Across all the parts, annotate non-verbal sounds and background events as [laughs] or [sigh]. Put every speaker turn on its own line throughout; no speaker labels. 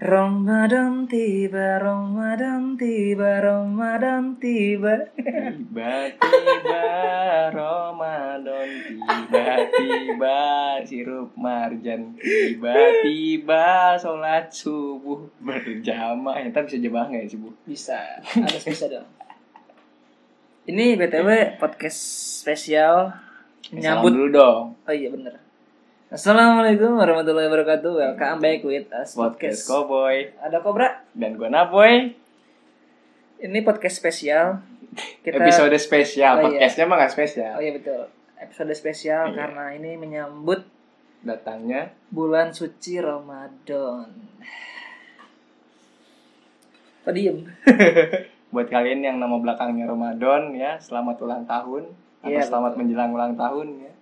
Ramadan tiba, Ramadan tiba, Ramadan tiba.
Tiba-tiba Ramadan Tiba-tiba sirup marjan Tiba-tiba sholat subuh berjamaah Entah bisa jamaah nggak ya subuh?
Bisa, harus bisa dong.
Ini BTW podcast spesial
Eh,
menyambut
Salam dulu dong
Oh iya bener Assalamualaikum warahmatullahi wabarakatuh Welcome back with us podcast
Podcast Cowboy
Ada Kobra
Dan gue Naboy
Ini podcast spesial Kita
Episode spesial
Oh, iya.
Podcastnya mah nggak spesial
Oh iya betul Episode spesial
Iya.
karena ini menyambut
Datangnya
bulan suci Ramadan Kok diem?
Buat kalian yang nama belakangnya Ramadan ya Selamat ulang tahun Atau
Iya,
selamat
betul.
menjelang ulang tahun ya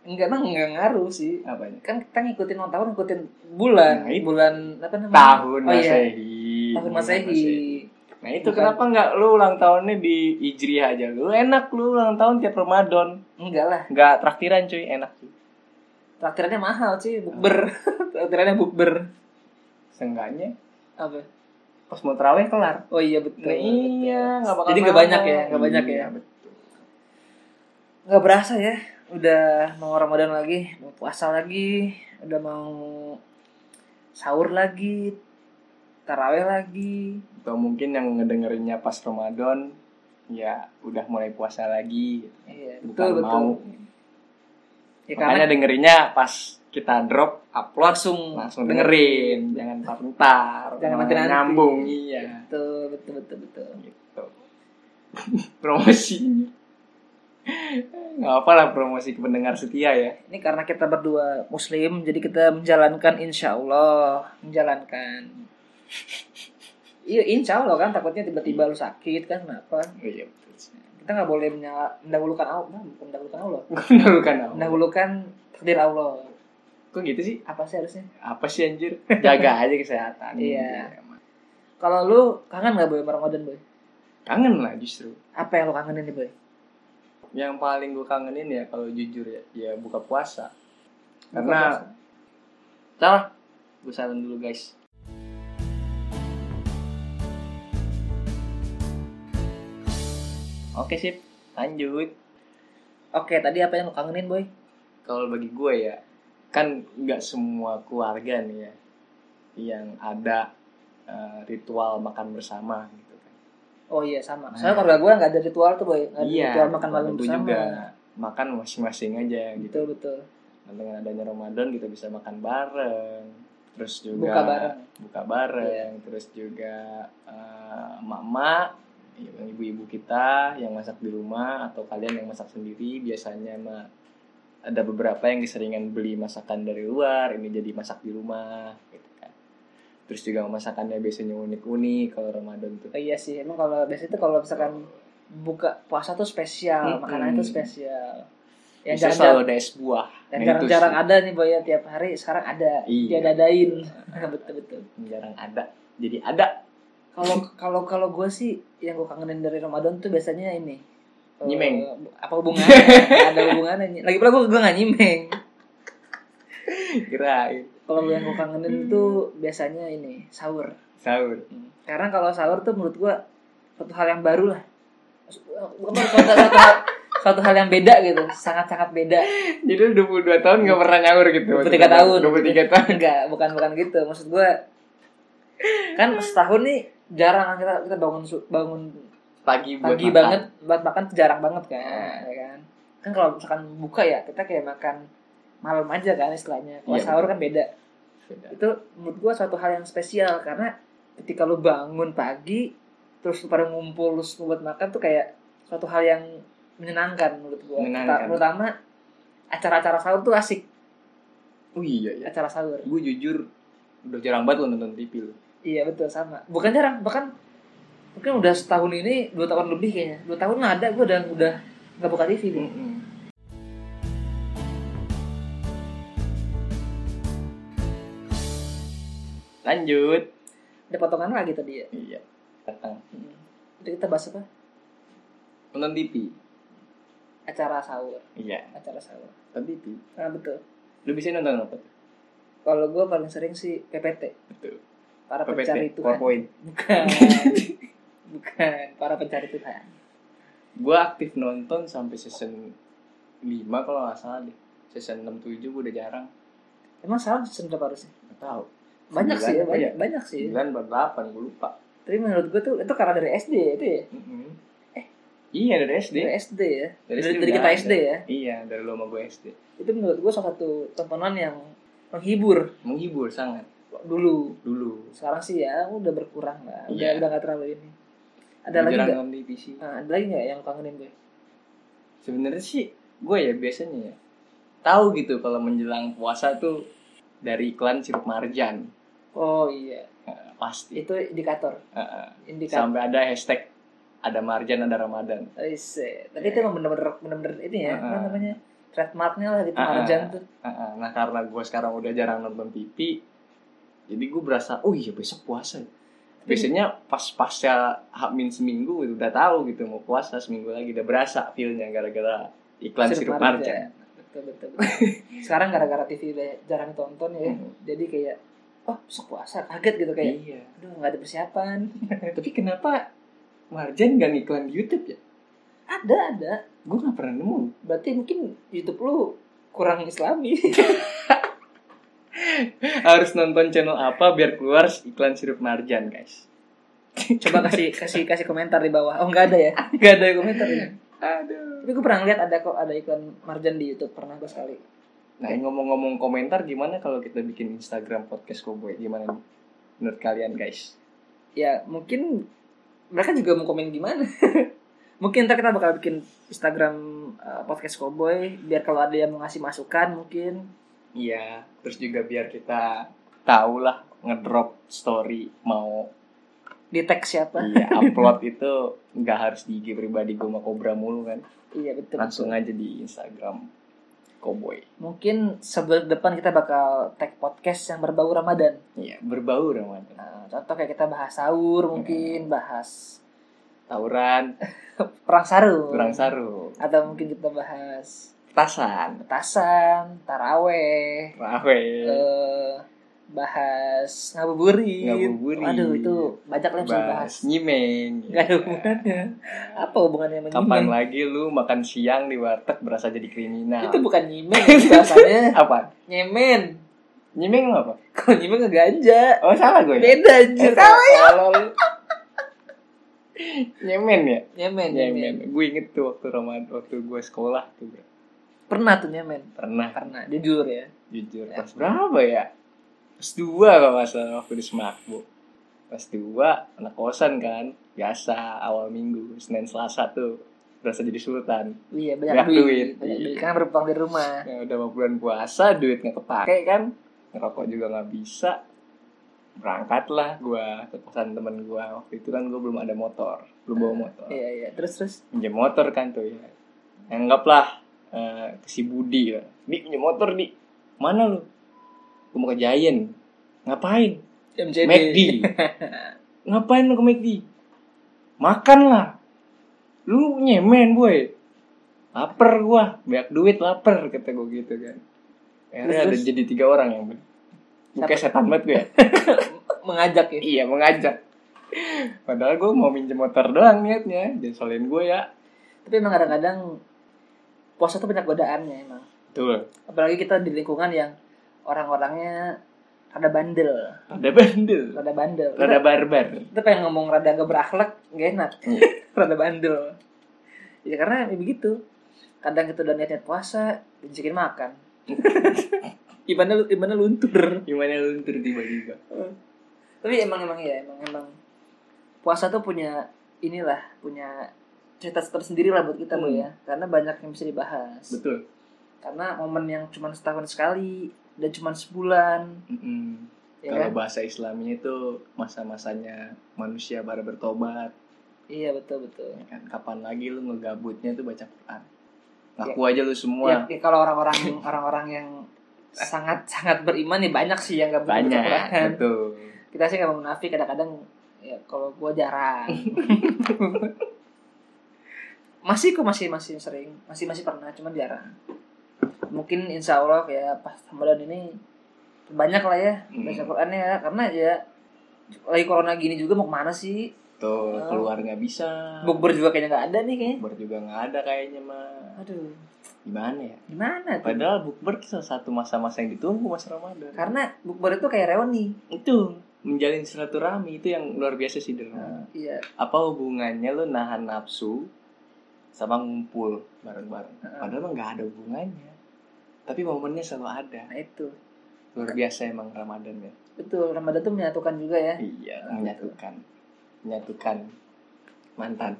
Enggak, emang enggak ngaruh sih
Apanya?
Kan kita ngikutin ulang tahun, ngikutin bulan
Nah, itu.
Bulan apa namanya?
Tahun
oh, iya.
Masehi
Tahun Masehi
Nah itu
Bukan.
kenapa nggak lu ulang tahunnya di Ijriah aja lu enak lu ulang tahun tiap Ramadan
Enggak lah
nggak traktiran cuy enak cuy
Traktirannya mahal sih, bukber [laughs] Traktirannya bukber
Seenggaknya
Apa?
pas mau terawih kelar.
Oh iya betul.
Nah, iya nggak bakal
Jadi nggak
mahal.
banyak ya, nggak banyak
Iya,
ya.
betul.
Nggak berasa ya, udah mau Ramadan lagi, mau puasa lagi, udah mau sahur lagi, taraweh lagi.
Atau mungkin yang ngedengerinnya pas Ramadan ya udah mulai puasa lagi. gitu.
Iya,
Bukan
betul betul.
mau.
Ya,
Makanya
karena
dengerinnya pas kita drop upload
langsung
langsung dengerin, jangan ntar-ntar.
Jangan
Malah
nanti-nanti.
nyambung iya.
Betul betul betul betul.
gitu promosinya nggak apa lah promosi ke pendengar setia ya
Ini karena kita berdua muslim, jadi kita menjalankan insya Allah menjalankan. Iya insya Allah kan takutnya tiba-tiba lu sakit kan kenapa?
iya betul sih
kita nggak boleh menyala- mendahulukan Allah nah, bukan mendahulukan Allah
Mendahulukan Allah.
mendahulukan takdir Allah
kok gitu sih
apa sih harusnya
apa sih anjir jaga aja kesehatan
Iya. kalau lu kangen nggak boy sama Ramadan boy
kangen lah justru
apa yang lu kangenin nih boy
yang paling gue kangenin ya kalau jujur ya ya buka puasa
Buka puasa.
karena salah gue saran dulu guys oke sip lanjut
oke tadi apa yang lu kangenin boy
kalau bagi gue ya kan nggak semua keluarga nih ya yang ada eh, ritual makan bersama gitu kan
oh iya sama
Nah.
soalnya keluarga gue nggak ada ritual tuh boy nggak ada ritual makan malam
keluarga gue
bersama
Iya, juga makan masing-masing aja gitu
betul betul
Nah, dengan adanya Ramadan kita bisa makan bareng terus juga
buka bareng Iya.
buka bareng, terus juga eh, emak-emak yang ibu-ibu kita yang masak di rumah atau kalian yang masak sendiri biasanya mah ada beberapa yang keseringan beli masakan dari luar ini jadi masak di rumah gitu kan terus juga masakannya biasanya unik-unik kalau Ramadan tuh
oh, iya sih emang kalau biasanya tuh kalau misalkan buka puasa tuh spesial
Mm-mm.
makanan itu spesial yang
Biasanya
jarang-jarang
selalu ada es buah
yang
Nah, itu
jarang-jarang
sih.
ada nih boy ya tiap hari sekarang ada
Iya. [laughs]
diadain [laughs] betul betul
jarang ada jadi ada
kalau kalau kalau gue sih yang gue kangenin dari Ramadan tuh biasanya ini Eh,
Nyimeng.
apa
[laughs]
hubungannya Nggak ada hubungannya lagi pula gue gue nggak nyimeng
kirain
kalau yang gue kangenin
Hmm.
tuh biasanya ini sahur
sahur
karena kalau sahur tuh menurut gue satu hal yang baru lah Apa,
[laughs]
suatu, suatu hal, suatu hal yang beda gitu sangat sangat beda
jadi lu 22 tahun gak pernah nyaur gitu
23 tahun.
23 tahun
enggak bukan bukan gitu maksud gue kan setahun nih jarang kan kita kita bangun su- bangun
pagi buat
pagi
makan. Nah.
banget buat makan tuh jarang banget kan ya kan kan kalau misalkan buka ya kita kayak makan malam aja kan istilahnya kalau
Iya,
sahur kan beda
Beda.
itu menurut gua suatu hal yang spesial karena ketika lu bangun pagi terus lu pada ngumpul terus lu buat makan tuh kayak suatu hal yang menyenangkan menurut gua
Menyenangkan.
Kita- terutama acara-acara sahur tuh asik
oh iya ya
acara sahur
gue jujur udah jarang banget lo nonton TV lo
iya betul sama bukan jarang bahkan mungkin udah setahun ini dua tahun lebih kayaknya dua tahun nggak ada gua udah udah nggak buka tv
Hmm.
gua.
lanjut
ada potongan lagi tadi ya
iya datang
Hmm. Jadi kita bahas apa?
nonton TV
Acara sahur,
iya
acara sahur.
nonton TV
Nah, betul.
lu bisa nonton apa tuh
Kalau gue paling sering sih PPT.
betul
para pencari
PPT
Tuhan.
PowerPoint [laughs]
Bukan. Bukan para pencari Tuhan.
gue aktif nonton sampai season 5 kalau nggak salah deh season 6 7 gue udah jarang
Emang salah season berapa harusnya?
nggak tahu
Banyak
Sembilan
sih ya,
apa
banyak,
ya?
banyak sih.
9 atau 8 gue lupa
Tapi menurut gue tuh itu karena dari SD ya, itu ya.
Mm-mm. iya dari SD
Dari SD ya.
Dari
Dari,
SD
dari
udah
kita
ada.
SD ya.
iya dari lo sama gue SD
Itu menurut gue salah satu tontonan yang menghibur
menghibur sangat
dulu.
dulu
Sekarang sih ya udah berkurang lah. Udah
Iya.
udah nggak terlalu ini. Ada
Gua
lagi
jarang
nggak?
nonton di PC
Nah, ada lagi nggak yang lu kangenin gue?
sebenarnya sih gue ya biasanya ya tahu gitu kalau menjelang puasa tuh dari iklan sirup marjan
Oh iya,
Eh, pasti
itu indikator.
Eh, eh.
Indikator.
sampai ada hashtag ada marjan ada ramadan
Ise. Tapi itu emang bener-bener bener-bener ini ya,
Ah,
apa
ah.
namanya? Trademarknya lah gitu,
Ah, ah.
Marjan tuh.
Heeh, Nah karena gue sekarang udah jarang nonton TV, jadi gue berasa, oh iya besok puasa. ya." Biasanya pas pasca hamin seminggu gitu, udah tahu gitu mau puasa seminggu lagi udah berasa feelnya gara-gara iklan sirup marjan.
Betul, betul, [laughs] betul. Sekarang gara-gara TV udah jarang tonton ya,
Mhm.
jadi kayak, oh besok puasa, kaget gitu kayak,
Iya.
aduh nggak ada persiapan.
Tapi kenapa marjan gak ngiklan di YouTube ya?
ada, ada.
Gue gak pernah nemu.
Berarti mungkin YouTube lu kurang islami.
Harus nonton channel apa biar keluar iklan sirup marjan [laughs] guys.
[laughs] Coba kasih kasih kasih komentar di bawah. Oh nggak ada ya? [laughs] Nggak ada komentar ya?
Aduh.
Tapi gue pernah lihat ada kok ada iklan Marjan di YouTube pernah gue sekali.
Nah yang ngomong-ngomong komentar gimana kalau kita bikin Instagram podcast Cowboy? Gimana nih? Menurut kalian guys?
ya mungkin mereka juga mau komen gimana [laughs] mungkin ntar kita bakal bikin Instagram eh, podcast Cowboy biar kalau ada yang mau ngasih masukan mungkin
Iya, terus juga biar kita tahu lah ngedrop story mau
di tag siapa
iya, upload [laughs] itu nggak harus di IG pribadi gue sama Cobra mulu kan.
iya betul
Langsung aja di Instagram Cowboy.
mungkin sebelum depan kita bakal tag podcast yang berbau Ramadan
Iya, berbau Ramadan.
Nah, contoh kayak kita bahas sahur
Iya.
mungkin bahas
Tauran,
perang sarung
kurang
Oh.
sarung,
atau mungkin kita bahas
tasan,
petasan taraweh
rawe,
eh, bahas ngabuburit
Ngabuburit.
aduh itu banyak lah yang bisa dibahas
bahas nyimeng.
[laughs] Gak ada
ya.
hubungannya. Apa hubungannya sama
Kapan
nyimeng?
lagi lu makan siang di warteg berasa jadi kriminal?
Itu bukan nyimeng, itu bahasanya
[laughs] apa?
nyemen.
Nyimeng apa?
Kalau nyimeng ngeganja.
Oh, salah gue. Ya?
Beda anjir.
Eh, tolol. Nyemen ya?
Nyemen,
Ya,
nyemen.
men. Gue inget tuh waktu Roman, waktu gue sekolah tuh bro.
Pernah tuh nyemen.
pernah
Karena jujur ya.
jujur
Ya.
pas berapa ya? Pas dua kalau nggak salah waktu di Semakbu. Pas dua anak kosan kan, biasa awal minggu Senin Selasa tuh berasa jadi sultan.
Iya, banyak,
Banyak
duit.
duit.
Banyak
Iya.
duit. Karena berpulang di rumah.
Ya, udah mau bulan puasa duit nggak kepake kan, ngerokok juga nggak bisa. Berangkatlah gue ke kosan temen gue waktu itu kan gue belum ada motor, belum bawa motor.
Iya, iya. Terus, terus.
pinjam motor kan tuh ya anggaplah eh, ke si Budi ya di pinjam motor di mana lu gue mau ke Giant ngapain
MJD.
McD
[laughs]
ngapain lu ke McD makan lah lu nyemen boy lapar gua banyak duit lapar kata gua gitu kan akhirnya ada
Terus?
jadi tiga orang yang beli Gua kayak setan banget gue ya [laughs]
Mengajak ya.
iya mengajak padahal gua mau minjem motor doang niatnya jangan salin gua ya
Tapi emang kadang-kadang puasa tuh banyak godaannya emang.
tuh
Apalagi kita di lingkungan yang orang-orangnya rada bandel.
ada bandel
Rada bandel.
Rada barbar.
kita pengen ngomong rada gak berakhlak gak enak
Iya.
[laughs] rada bandel ya karena ya begitu kadang kita udah niat-niat puasa dijekin
[laughs]
makan gimana gimana luntur
Gimana luntur tiba-tiba?
Hmm. tapi emang emang ya emang emang puasa tuh punya inilah punya cerita tersendiri lah buat kita Bu,
Hmm.
ya karena banyak yang bisa dibahas
Betul.
karena momen yang cuma setahun sekali dan cuma sebulan
Mm-mm.
ya kan
Kalau bahasa Islamnya itu masa-masanya manusia baru bertobat.
iya betul betul
ya kan? Kapan lagi lu ngegabutnya tuh baca Quran? Ngaku aja lu
Ya,
semua.
ya kalau orang-orang orang-orang yang sangat sangat beriman ya banyak sih yang nggak butuh
Banyak.
baca Quran.
Betul.
Kita sih nggak mau munafik kadang-kadang ya kalau gua jarang. masih kok masih masih sering masih masih pernah cuman jarang. Mungkin insya Allah kayak pas Ramadan ini banyak lah ya
Mm.
baca Qurannya ya karena ya lagi corona gini juga mau kemana sih?
Mm. Tuh,
Oh.
keluar nggak bisa.
Bukber juga kayaknya nggak ada nih kayaknya.
Bukber juga nggak ada kayaknya mah.
Aduh,
Gimana ya?
gimana tuh?
Padahal bukber itu salah satu masa-masa yang ditunggu mas Ramadan.
Karena bukber itu kayak reuni.
itu menjalin silaturahmi itu yang luar biasa sih Del.
Iya.
Apa hubungannya lu nahan nafsu sama ngumpul bareng-bareng? Padahal emang nggak ada hubungannya. Tapi momennya selalu ada.
Nah itu.
Luar biasa emang Ramadan ya.
Betul, Ramadan tuh menyatukan juga ya.
Iya, menyatukan. Menyatukan mantan.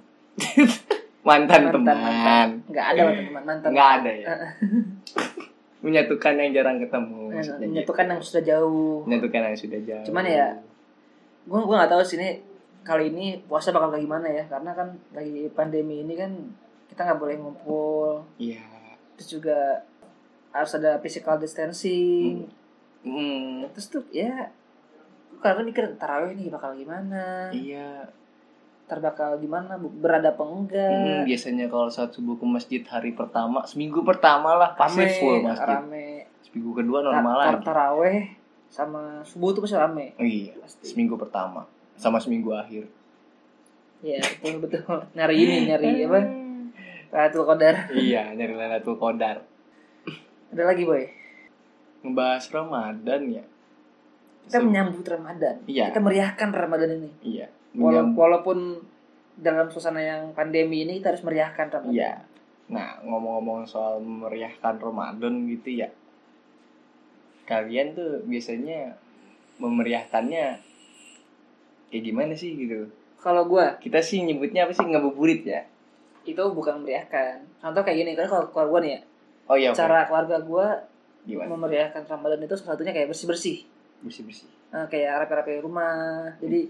[laughs] mantan,
Mantan,
teman.
mantan. Nggak ada teman mantan.
Nggak ada ya. [laughs] menyatukan yang jarang ketemu. maksudnya gitu.
Menyatukan yang sudah jauh.
menyatukan yang sudah jauh.
Cuman ya, Gue gua nggak tahu sih ini kali ini puasa bakal kayak gimana ya karena kan lagi pandemi ini kan kita nggak boleh ngumpul
Iya.
terus juga harus ada physical distancing
Hmm.
terus tuh ya gue kadang mikir tarawih nih bakal gimana
Iya,
ntar bakal gimana bu- berada apa
Mm,
enggak
biasanya kalau saat subuh ke masjid hari pertama, seminggu pertama lah pasti full masjid.
rame
Seminggu kedua
Ta-
normal
tar-
lagi.
taraweh sama subuh tuh pasti rame
Oh Iya,
pasti
seminggu pertama sama seminggu akhir.
ya betul betul nyari ini nyari
[laughs]
apa Ratul Qadar
Eh. iya, nyari Lailatul Qadar.
ada lagi boy
Ngebahas Ramadan ya.
kita
Se-
menyambut Ramadan
Iya.
kita meriahkan Ramadan ini
Iya.
Wala-
menyambut-
walaupun dalam suasana yang pandemi ini kita harus meriahkan Ramadan
Iya. Nah, ngomong-ngomong soal meriahkan Ramadan gitu ya. Kalian tuh biasanya memeriahkannya kayak gimana sih gitu.
kalau gue
Kita sih nyebutnya apa sih ngebuburit ya?
itu bukan meriahkan contoh kayak gini kan kalau keluarga nih ya
Oh iya, oke.
cara keluarga gue
gimana?
memeriahkan Ramadan itu salah satunya kayak bersih bersih
Bersih-bersih.
kayak rapi-rapi rumah
Hmm.
jadi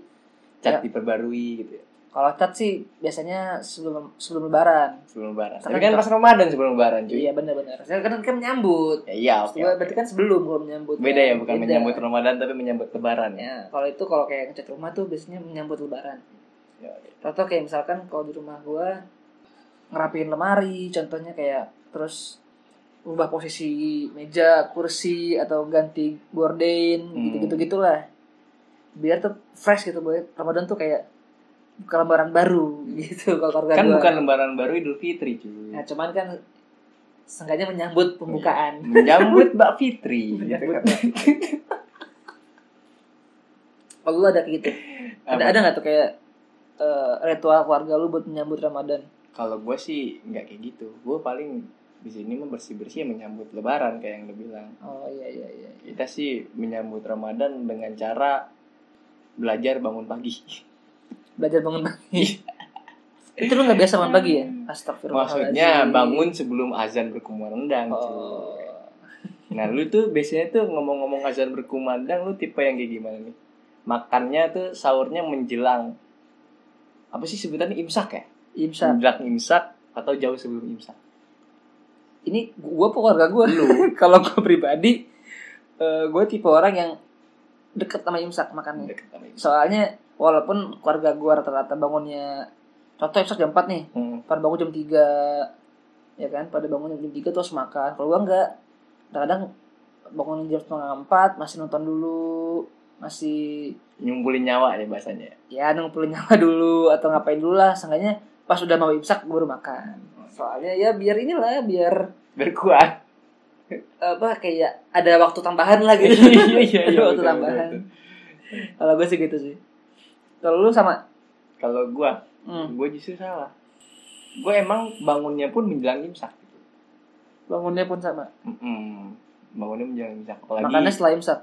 Ya.
cat diperbarui gitu ya
kalau cat sih biasanya sebelum sebelum lebaran
sebelum lebaran.
Karena
Tapi kan
kita-
pas Ramadan sebelum lebaran cuy.
iya benar-benar saya kan kan menyambut
Ya, iya, oke.
Maksud gua, berarti kan sebelum kalau menyambut kan?
Beda ya bukan
Beda.
menyambut Ramadan tapi menyambut lebaran ya.
ya kalau itu kalau kayak ngecat rumah tuh biasanya menyambut lebaran
Ya, oke.
Contoh kayak misalkan kalau di rumah gua ngerapiin lemari, contohnya kayak terus ubah posisi meja, kursi atau ganti gorden
Hmm.
gitu-gitu gitulah. Biar tuh fresh gitu boy. Ramadan tuh kayak buka lembaran baru [laughs] gitu kalau keluarga
Kan
gua.
bukan lebaran baru Idul Fitri
Nah,
cuy.
cuman kan sengaja menyambut pembukaan.
Iya. Menyambut Mbak Fitri gitu
Menyambut
kan.
Kalau lu ada kayak gitu. Ada
Apa?
ada nggak tuh kayak eh, ritual keluarga lu buat menyambut Ramadan?
Kalau gue sih nggak kayak gitu. Gue paling di sini mah bersih-bersih ya menyambut lebaran kayak yang lu bilang.
Oh iya iya iya.
Kita sih menyambut Ramadan dengan cara belajar bangun pagi.
Belajar bangun pagi. itu lu nggak
[laughs]
biasa bangun pagi ya? Astagfirullahaladzim.
Hmm. Maksudnya bangun sebelum azan berkumandang. cuy.
Oh.
Nah lu tuh biasanya tuh ngomong-ngomong azan berkumandang lu tipe yang kayak gimana nih? Makannya tuh sahurnya menjelang apa sih sebutannya imsak ya?
Imsak.
Menjelang imsak atau jauh sebelum imsak?
Ini gua apa keluarga gua? [laughs] Kalau gua pribadi eh gua tipe orang yang deket sama imsak makannya.
Deket sama imsak.
Soalnya walaupun keluarga gua rata-rata bangunnya contoh imsak jam 4 nih,
Hmm.
pada bangun jam 3 ya kan, pada bangun jam 3 terus makan. Kalau gua enggak, kadang-kadang bangun jam setengah empat masih nonton dulu, masih
Nyumpulin nyawa ya bahasanya.
ya ngumpulin nyawa [laughs] dulu atau ngapain dulu lah seenggaknya pas udah mau imsak baru makan soalnya ya biar inilah biar [laughs]
Berkuat.
apa kayak ada waktu tambahan lah
[laughs]
gitu [laughs] ada waktu
Iya, betul,
tambahan
betul, betul.
kalau gue sih gitu sih kalau lu sama
Kalau gua,
hmm,
gua justru salah. Gua emang bangunnya pun menjelang imsak. Gitu.
bangunnya pun sama
Mm-mm. Bangunnya menjelang imsak. Apalagi
makannya setelah imsak [laughs]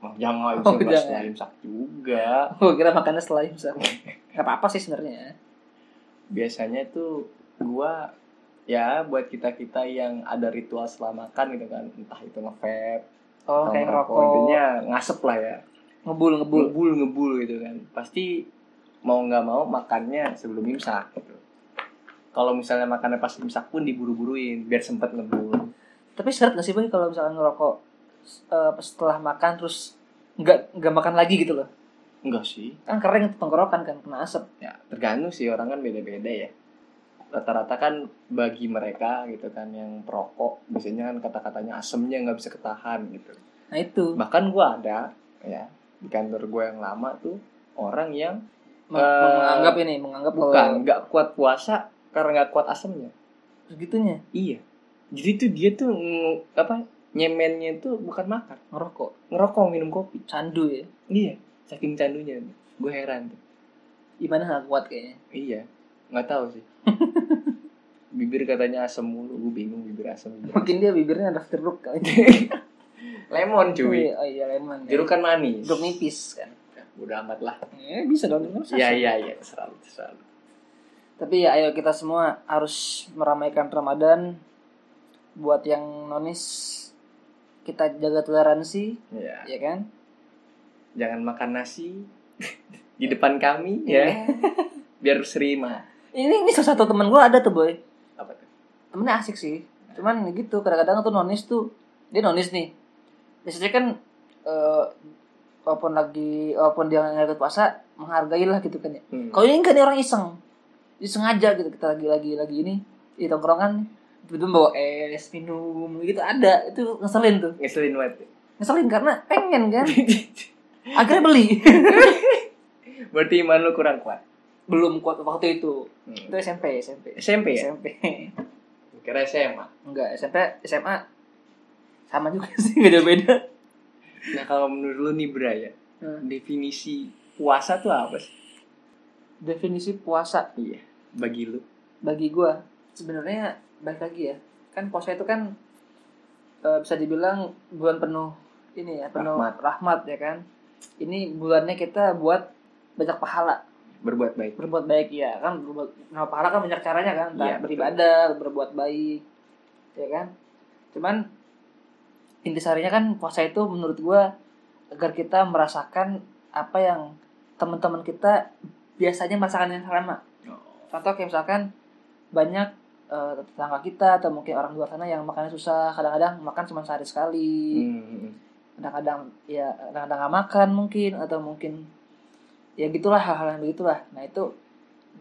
Oh, jangan,
Oh,
jangan.
jangan.
imsak juga.
gue kira makannya setelah imsak nggak apa apa sih sebenarnya
biasanya tuh gua ya buat kita kita yang ada ritual setelah makan gitu kan entah itu ngevap
oh
atau
kayak
ngerokok,
ngerokok
intinya ngasep lah ya
ngebul ngebul
ngebul ngebul gitu kan pasti mau nggak mau makannya sebelum imsak gitu kalau misalnya makannya pas imsak pun diburu-buruin biar sempet ngebul
tapi seret nggak sih boy kalau misalkan ngerokok eh, setelah makan terus nggak nggak makan lagi gitu loh
enggak sih
kan kering tuh tenggorokan kan kena asap
ya tergantung sih orang kan beda-beda ya rata-rata kan bagi mereka gitu kan yang perokok biasanya kan kata-katanya asemnya nggak bisa ketahan gitu
nah itu
bahkan gue ada ya di kantor gue yang lama tuh orang yang
Meng-
Eh,
menganggap ini menganggap bahwa
bukan nggak kuat puasa karena nggak kuat asamnya
segitunya
iya jadi tuh dia tuh nge- apa nyemennya tuh bukan makan
ngerokok
ngerokok minum kopi
candu ya
iya saking candunya gue heran tuh
gimana nggak kuat kayaknya
iya nggak tahu sih bibir katanya asam mulu gue bingung bibir asam bibir asam.
mungkin dia bibirnya ada jeruk kali
lemon
oh
[laughs] cuy
iya, [laughs] oh iya lemon ya.
jeruk kan manis
jeruk nipis kan
udah amat lah
ya, bisa dong kan
iya iya iya selalu selalu
tapi ya ayo kita semua harus meramaikan Ramadan buat yang nonis kita jaga toleransi
iya
ya kan
jangan makan nasi [laughs] di depan kami ya biar serima
ini [laughs] ini salah satu teman gue ada tuh boy
apa tuh
temennya asik sih cuman gitu kadang-kadang tuh nonis tuh dia nonis nih biasanya kan eh, walaupun lagi walaupun dia nggak ikut puasa menghargailah gitu kan ya
Hmm.
kalau ini kan dia orang iseng iseng aja gitu kita lagi lagi lagi ini di tongkrongan tiba-tiba bawa es minum gitu ada itu ngeselin tuh
ngeselin banget
ngeselin karena pengen [laughs]
Ya.
kan akhirnya beli
[laughs] berarti iman lu kurang kuat
[laughs] belum kuat waktu itu Iya. itu
hmm.
SMP SMP
SMP ya
SMP
kira SMA
enggak SMP SMA sama juga [laughs] sih beda beda
nah kalau menurut lu nih Braya
Hmm.
definisi puasa tuh apa sih
definisi puasa
iya bagi lu
bagi gua sebenarnya balik lagi ya kan puasa itu kan eh, bisa dibilang bulan penuh ini ya penuh
Rahmat.
rahmat. ya kan ini bulannya kita buat banyak pahala
berbuat baik
berbuat baik ya kan berbuat nah, pahala kan banyak caranya kan entah
Iya, betul.
beribadah berbuat baik ya kan cuman intisarinya kan puasa itu menurut gua agar kita merasakan apa yang teman-teman kita biasanya merasakan yang sama
Oh.
contoh kayak misalkan banyak eh, tetangga kita atau mungkin orang luar sana yang makannya susah kadang-kadang makan cuma sehari sekali
Hmm.
kadang-kadang ya kadang-kadang nggak makan mungkin atau mungkin ya gitulah hal-hal yang begitulah nah itu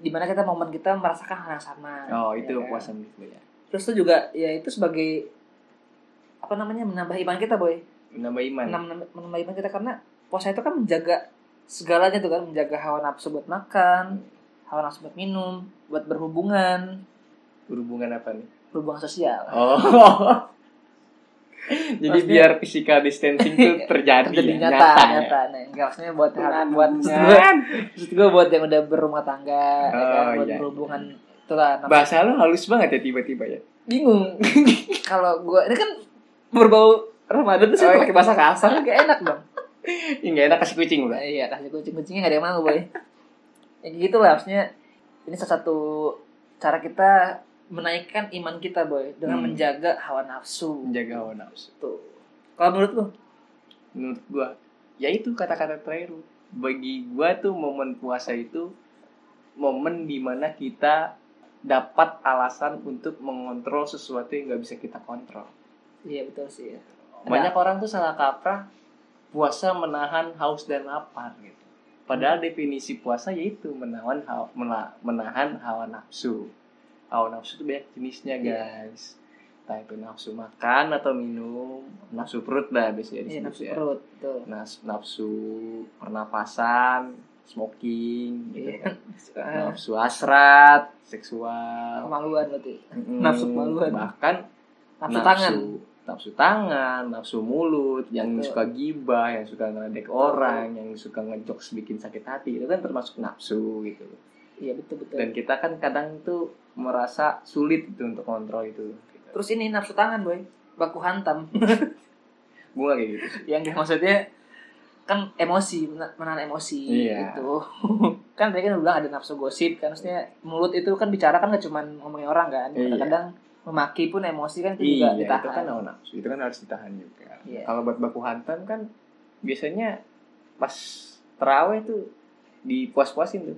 dimana kita momen kita merasakan hal yang sama
oh itu
ya kan?
puasa menurut lu ya
terus itu juga ya itu sebagai apa namanya menambah iman kita boy
menambah iman
menambah, menambah iman kita karena puasa itu kan menjaga segalanya tuh kan menjaga hawa nafsu buat makan hawa nafsu buat minum buat berhubungan
berhubungan apa nih
berhubungan sosial
oh [laughs] jadi
Maksudnya-
biar physical distancing tuh [laughs] terjadi,
terjadi
ya,
nyata
nyata,
nyata,
ya?
nah enggak maksudnya buat hal buat
buat
maksud gue buat yang udah berumah tangga ya kan?
Oh,
buat
iya.
berhubungan itulah nah,
bahasa lu halus banget ya tiba-tiba ya
bingung [laughs] kalau gue ini kan berbau Ramadan tuh sih
Oh, iya.
pakai bahasa kasar kayak enak dong
Ih, nggak enak kasih kucing
Nah,
udah
iya kasih kucing kucingnya gak ada yang mau boy ya gitu lah maksudnya ini salah satu cara kita menaikkan iman kita boy dengan
Hmm.
menjaga hawa nafsu
menjaga hawa nafsu
tuh kalau menurut lu
menurut gua ya itu kata-kata terakhir lu. bagi gua tuh momen puasa itu momen dimana kita dapat alasan untuk mengontrol sesuatu yang nggak bisa kita kontrol
iya betul sih ya.
banyak orang tuh salah kaprah puasa menahan haus dan lapar gitu
Hmm.
padahal definisi puasa yaitu menahan hawa, mena- menahan hawa nafsu hawa nafsu itu banyak jenisnya
Iya.
guys entah itu nafsu makan atau minum nafsu perut dah biasanya
Iya,
disebut
nafsu
ya
perut tuh
Nas- nafsu pernapasan smoking gitu kan.
Ah,
nafsu hasrat seksual
kemaluan berarti
Mm-mm.
Nafsu kemaluan.
bahkan
nafsu tangan
nafsu tangan, nafsu mulut, yang
Betul.
suka gibah, yang suka ngeledek orang, yang suka ngejok bikin sakit hati, itu kan termasuk nafsu gitu.
iya betul betul
Dan kita kan kadang tuh merasa sulit gitu untuk kontrol itu.
terus ini nafsu tangan boy baku
[laughs]
hantam
Gue
[laughs]
gak kayak gitu sih.
yang dia maksudnya kan emosi mena- menahan emosi
Iya.
gitu [laughs] kan tadi kan lu bilang ada nafsu gosip kan maksudnya mulut itu kan bicara kan gak cuma ngomongin orang kan
Iya.
kadang-kadang memaki pun emosi kan itu
Iya,
juga ditahan
itu kan hawa nafsu, itu kan harus ditahan juga.
Iya.
Kalau buat baku hantam kan biasanya pas terawih tuh dipuas-puasin tuh.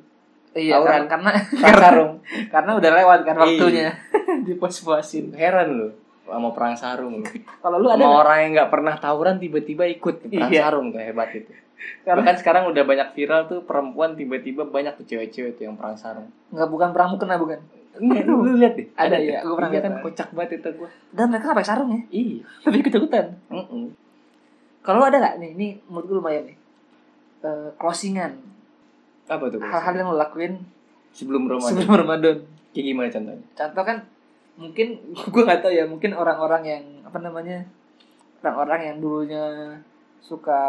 iya
Tawuran.
karena, karena [laughs]
Pakai sarung.
karena udah lewat kan
Iya.
waktunya [laughs] dipuas-puasin
Heran loh sama perang sarung. lu.
kalau lu ada
sama
nggak?
orang yang nggak pernah tawuran tiba-tiba ikut ke perang
Iya.
sarung tuh hebat itu
Karena-
bahkan sekarang udah banyak viral tuh perempuan tiba-tiba banyak tuh cewek-cewek tuh yang perang sarung
nggak bukan pramu kena bukan
Enggak, lu lu lihat deh
Ada,
tuh.
iya, gua pernah
Iya
lihat,
kan
Pak.
kocak banget itu gua
dan mereka nggak pakai sarung ya [laughs]
iya
tapi ikut ikutan
Mm-mm.
kalau lu ada nggak nih ini menurut gue lumayan nih eh, closingan
Apa tuh? Bos?
hal-hal yang lo lakuin
sebelum Ramadan.
sebelum Ramadan
Kayak gimana contohnya?
contoh kan mungkin [laughs] gue nggak tahu ya mungkin orang-orang yang apa namanya orang-orang yang dulunya suka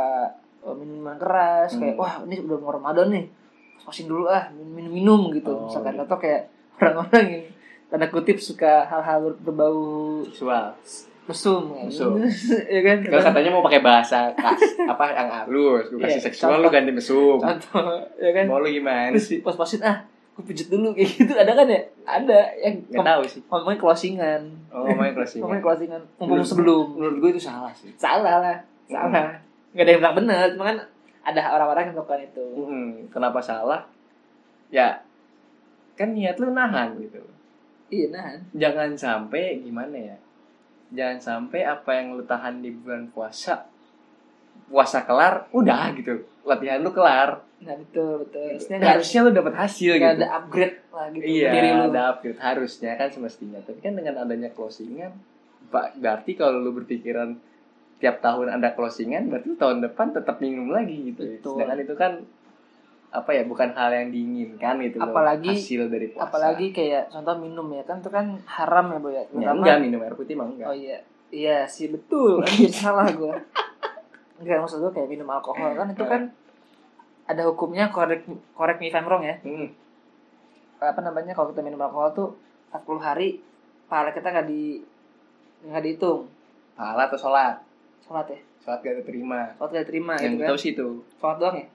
eh, minuman keras kayak
Hmm.
wah ini udah mau Ramadan nih pasin dulu ah minum-minum gitu
Oh,
misalkan
gitu.
atau kayak [laughs] orang-orang yang tanda kutip suka hal-hal berbau
Seksual.
mesum kayak [laughs]
Mesum.
gitu. ya kan
Kalau katanya mau pakai bahasa kas, apa yang halus, gue kasih
Iya,
seksual
contoh.
lu ganti mesum.
[laughs] contoh ya kan
Mau lu gimana
terus
sih?
pas-pasin ah gue pijet dulu [laughs] kayak gitu ada kan ya ada yang
Gak tahu sih.
ngomongin closingan
Oh, main closing.
ngomongin closingan mumpung Iya. sebelum
Menurut gue itu salah sih.
hmm. salah lah salah nggak ada yang bilang bener cuma kan ada orang-orang yang melakukan itu
Mm-mm. Kenapa salah? Ya kan niat lu nahan gitu.
iya nah
Jangan sampai gimana ya? Jangan sampai apa yang lu tahan di bulan puasa puasa kelar udah gitu latihan lu kelar
nah betul betul harusnya nggak harus
harusnya lu dapat hasil
nggak
gitu
ada upgrade lah gitu
iya
diri lu
ada upgrade harusnya kan semestinya tapi kan dengan adanya closingan ba- berarti kalau lu berpikiran tiap tahun ada closingan berarti lu tahun depan tetap minum lagi gitu
Betul.
sedangkan itu kan apa ya bukan hal yang diinginkan gitu loh,
Apalagi-
hasil dari puasa
apalagi kayak contoh minum ya kan itu kan haram ya bu ya
ya,
Terutama-
enggak minum air putih mah enggak
oh iya iya sih betul [laughs] anjir salah gue nggak maksud gue kayak minum alkohol kan itu kan ada hukumnya correct correct me if I'm wrong ya
Hmm,
apa namanya kalau kita minum alkohol tuh 40 hari pahala kita nggak di nggak dihitung
pahala atau sholat
sholat ya
sholat gak diterima
sholat nggak terima
yang
gitu kan
tahu sih itu
sholat doang ya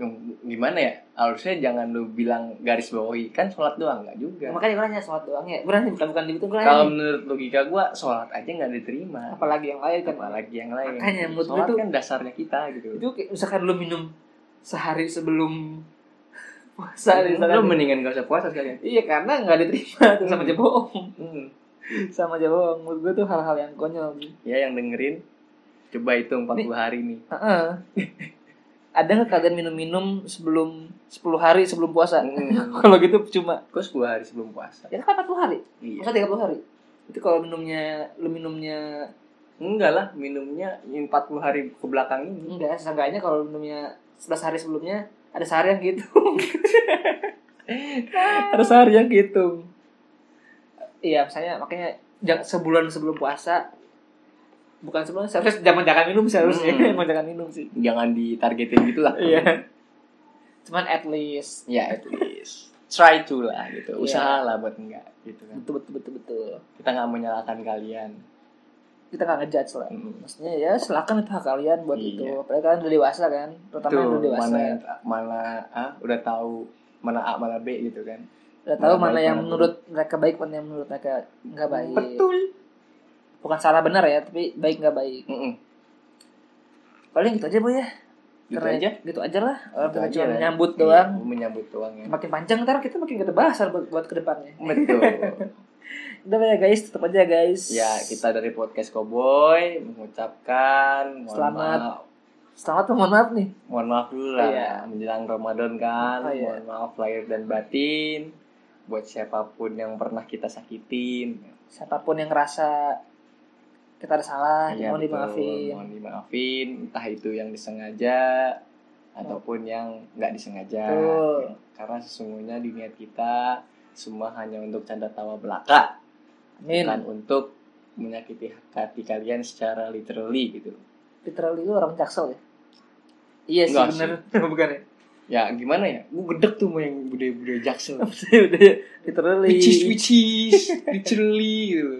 yang gimana ya harusnya jangan lu bilang garis bawahi kan sholat doang enggak juga
Ya, makanya gue nanya sholat doang ya gue nanya bukan bukan di itu gue nanya
kalau menurut logika gua sholat aja nggak diterima
apalagi yang lain kan
apalagi yang lain
Makanya, menurut gua
sholat
tuh-
kan dasarnya kita gitu
itu kayak misalkan lu minum sehari sebelum [laughs] puasa
lu
misalkan.
mendingan gak usah puasa sekalian
iya karena nggak diterima tuh sama aja bohong [laughs]
hmm.
sama aja bohong menurut gue tuh hal-hal yang konyol gitu.
ya yang dengerin coba hitung 40 hari nih
Heeh. [laughs] ada nggak kalian minum-minum sebelum 10 hari sebelum puasa
hmm.
kalau gitu cuma
kok 10 hari sebelum puasa
ya kan 40 hari
iya
masa 30 hari itu kalau minumnya lu minumnya
enggak lah minumnya 40 hari ke belakang ini
enggak seenggaknya kalau minumnya 11 hari sebelumnya ada sehari yang gitu [laughs] ada sehari yang gitu iya misalnya makanya jangan sebulan sebelum puasa bukan sebulan seharusnya jangan jangan minum seharusnya
Hmm.
emang jangan minum sih
jangan ditargetin gitu lah
iya cuman at least
ya at least try to lah gitu
Iya.
usahalah buat enggak gitu kan
betul betul betul betul
kita nggak menyalahkan kalian
kita nggak ngejudge lah
Mm.
maksudnya ya silakan itu hak kalian buat
Iya.
itu apalagi kalian udah dewasa kan terutama yang udah
tuh
dewasa
mana mana ah udah tahu mana A mana B gitu kan
udah tahu
Mana
mana
baik,
yang
mana
menurut mereka baik mana yang menurut mereka nggak baik
betul
bukan salah benar ya tapi baik nggak baik
Mm-mm.
paling gitu aja bu ya
gitu
Karena-
aja
gitu aja lah Orang
Gitu
kita
aja
cuma
lah.
menyambut
Iya,
doang
menyambut doang ya
makin panjang ntar kita makin gak ada bahasan buat, buat kedepannya [laughs]
betul
udah ya guys tetap aja guys
ya kita dari podcast Cowboy mengucapkan mohon
Selamat.
maaf,
selamat mohon maaf nih
mohon maaf dulu lah
Iya.
menjelang Ramadan kan
Oh, iya.
mohon maaf lahir dan batin buat siapapun yang pernah kita sakitin
siapapun yang ngerasa kita ada salah
Iya,
mohon
betul.
dimaafin
mohon dimaafin entah itu yang disengaja ataupun yang nggak disengaja Ya,
Betul.
karena sesungguhnya di niat kita semua hanya untuk canda tawa belaka
amin
bukan untuk menyakiti hati kalian secara literally gitu
literally itu orang jaksel ya iya sih
Enggak
bener [laughs] bukan ya
ya gimana ya gue gedek tuh sama yang budaya-budaya
[laughs]
jaksel
udah ya literally
which is which is literally gitu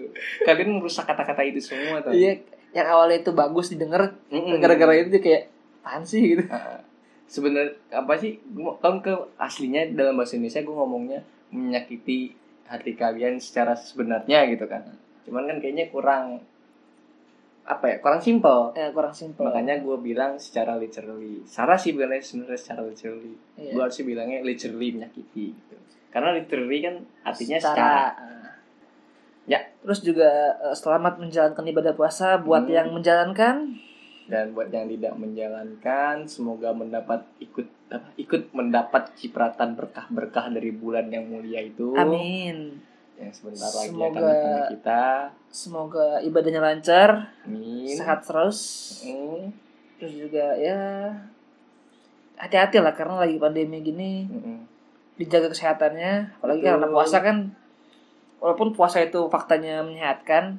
kalian merusak kata-kata itu semua tuh
iya yang awalnya itu bagus didengar gara-gara itu dia kayak apaan sih gitu
sebenarnya apa sih gua- kan ke aslinya dalam bahasa Indonesia gue ngomongnya menyakiti hati kalian secara sebenarnya gitu kan cuman kan kayaknya kurang apa ya kurang simpel
[laughs] eh, kurang simpel
makanya gue bilang secara literally Sarah sih bilangnya sebenarnya secara literally
Iya.
gue harusnya bilangnya literally menyakiti gitu karena literally kan artinya secara,
secara ya terus juga eh, selamat menjalankan ibadah puasa buat
Hmm.
yang menjalankan
dan buat yang tidak menjalankan semoga mendapat ikut apa, ikut mendapat cipratan berkah-berkah dari bulan yang mulia itu
amin
yang Ya, sebentar lagi
Semoga-
akan datang ke kita.
semoga ibadahnya lancar
Amin.
sehat terus
Mm.
terus juga ya hati-hati lah karena lagi pandemi gini
Mm-mm.
dijaga kesehatannya apalagi
Betul.
karena puasa kan walaupun puasa itu faktanya menyehatkan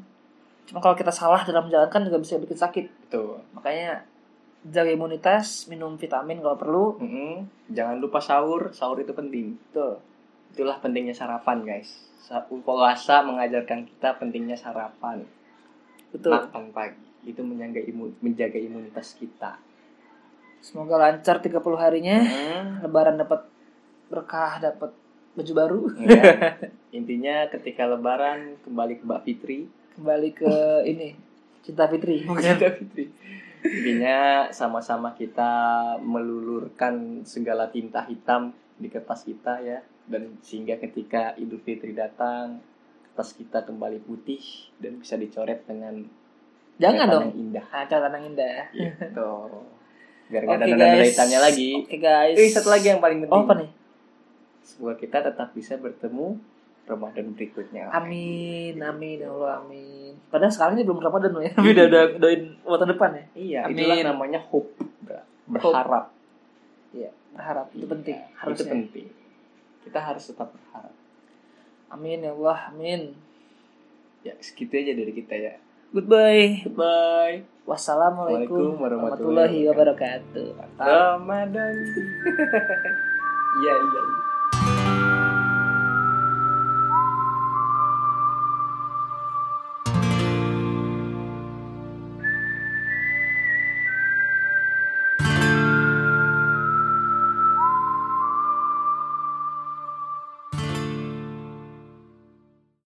cuma kalau kita salah dalam menjalankan juga bisa bikin sakit
Betul.
makanya jaga imunitas minum vitamin kalau perlu
Mm-mm. Jangan lupa sahur, sahur itu penting.
Betul.
Itulah pentingnya sarapan, guys. Sa- Puasa mengajarkan kita pentingnya sarapan,
betul
makan pagi. Itu menjaga imun, menjaga imunitas kita.
semoga lancar 30 harinya
Mm.
lebaran dapat berkah dapat baju baru [laughs]
Ya. Intinya ketika lebaran kembali ke Mbak Fitri.
kembali ke
[laughs]
ini cinta fitri
Mbak Fitri. Iya. Intinya sama-sama kita melulurkan segala tinta hitam di kertas kita ya. Dan sehingga ketika Idul Fitri datang, kertas kita kembali putih dan bisa dicoret dengan
jangan
Kereta
dong
yang
[laughs]
indah
ah catatan yang indah
gitu biar
oke
nggak ada
guys
nada hitamnya lagi
oke guys
Eh, satu lagi yang paling penting
oh apa nih
semoga kita tetap bisa bertemu Ramadan berikutnya
Amin, amin, ya Allah, amin. Padahal sekarang ini belum Ramadan loh ya, tapi udah udah doain buat tahun depan ya.
iya
Amin.
itulah namanya hope Bra. berharap
Berharap itu penting,
Iya, itu
harusnya.
penting kita harus tetap berharap
Amin ya Allah, amin.
ya segitu aja dari kita ya
Goodbye.
bye
Wassalamualaikum
Waalaikumsalam [laughs]
warahmatullahi wabarakatuh.
Ramadan iya iya iya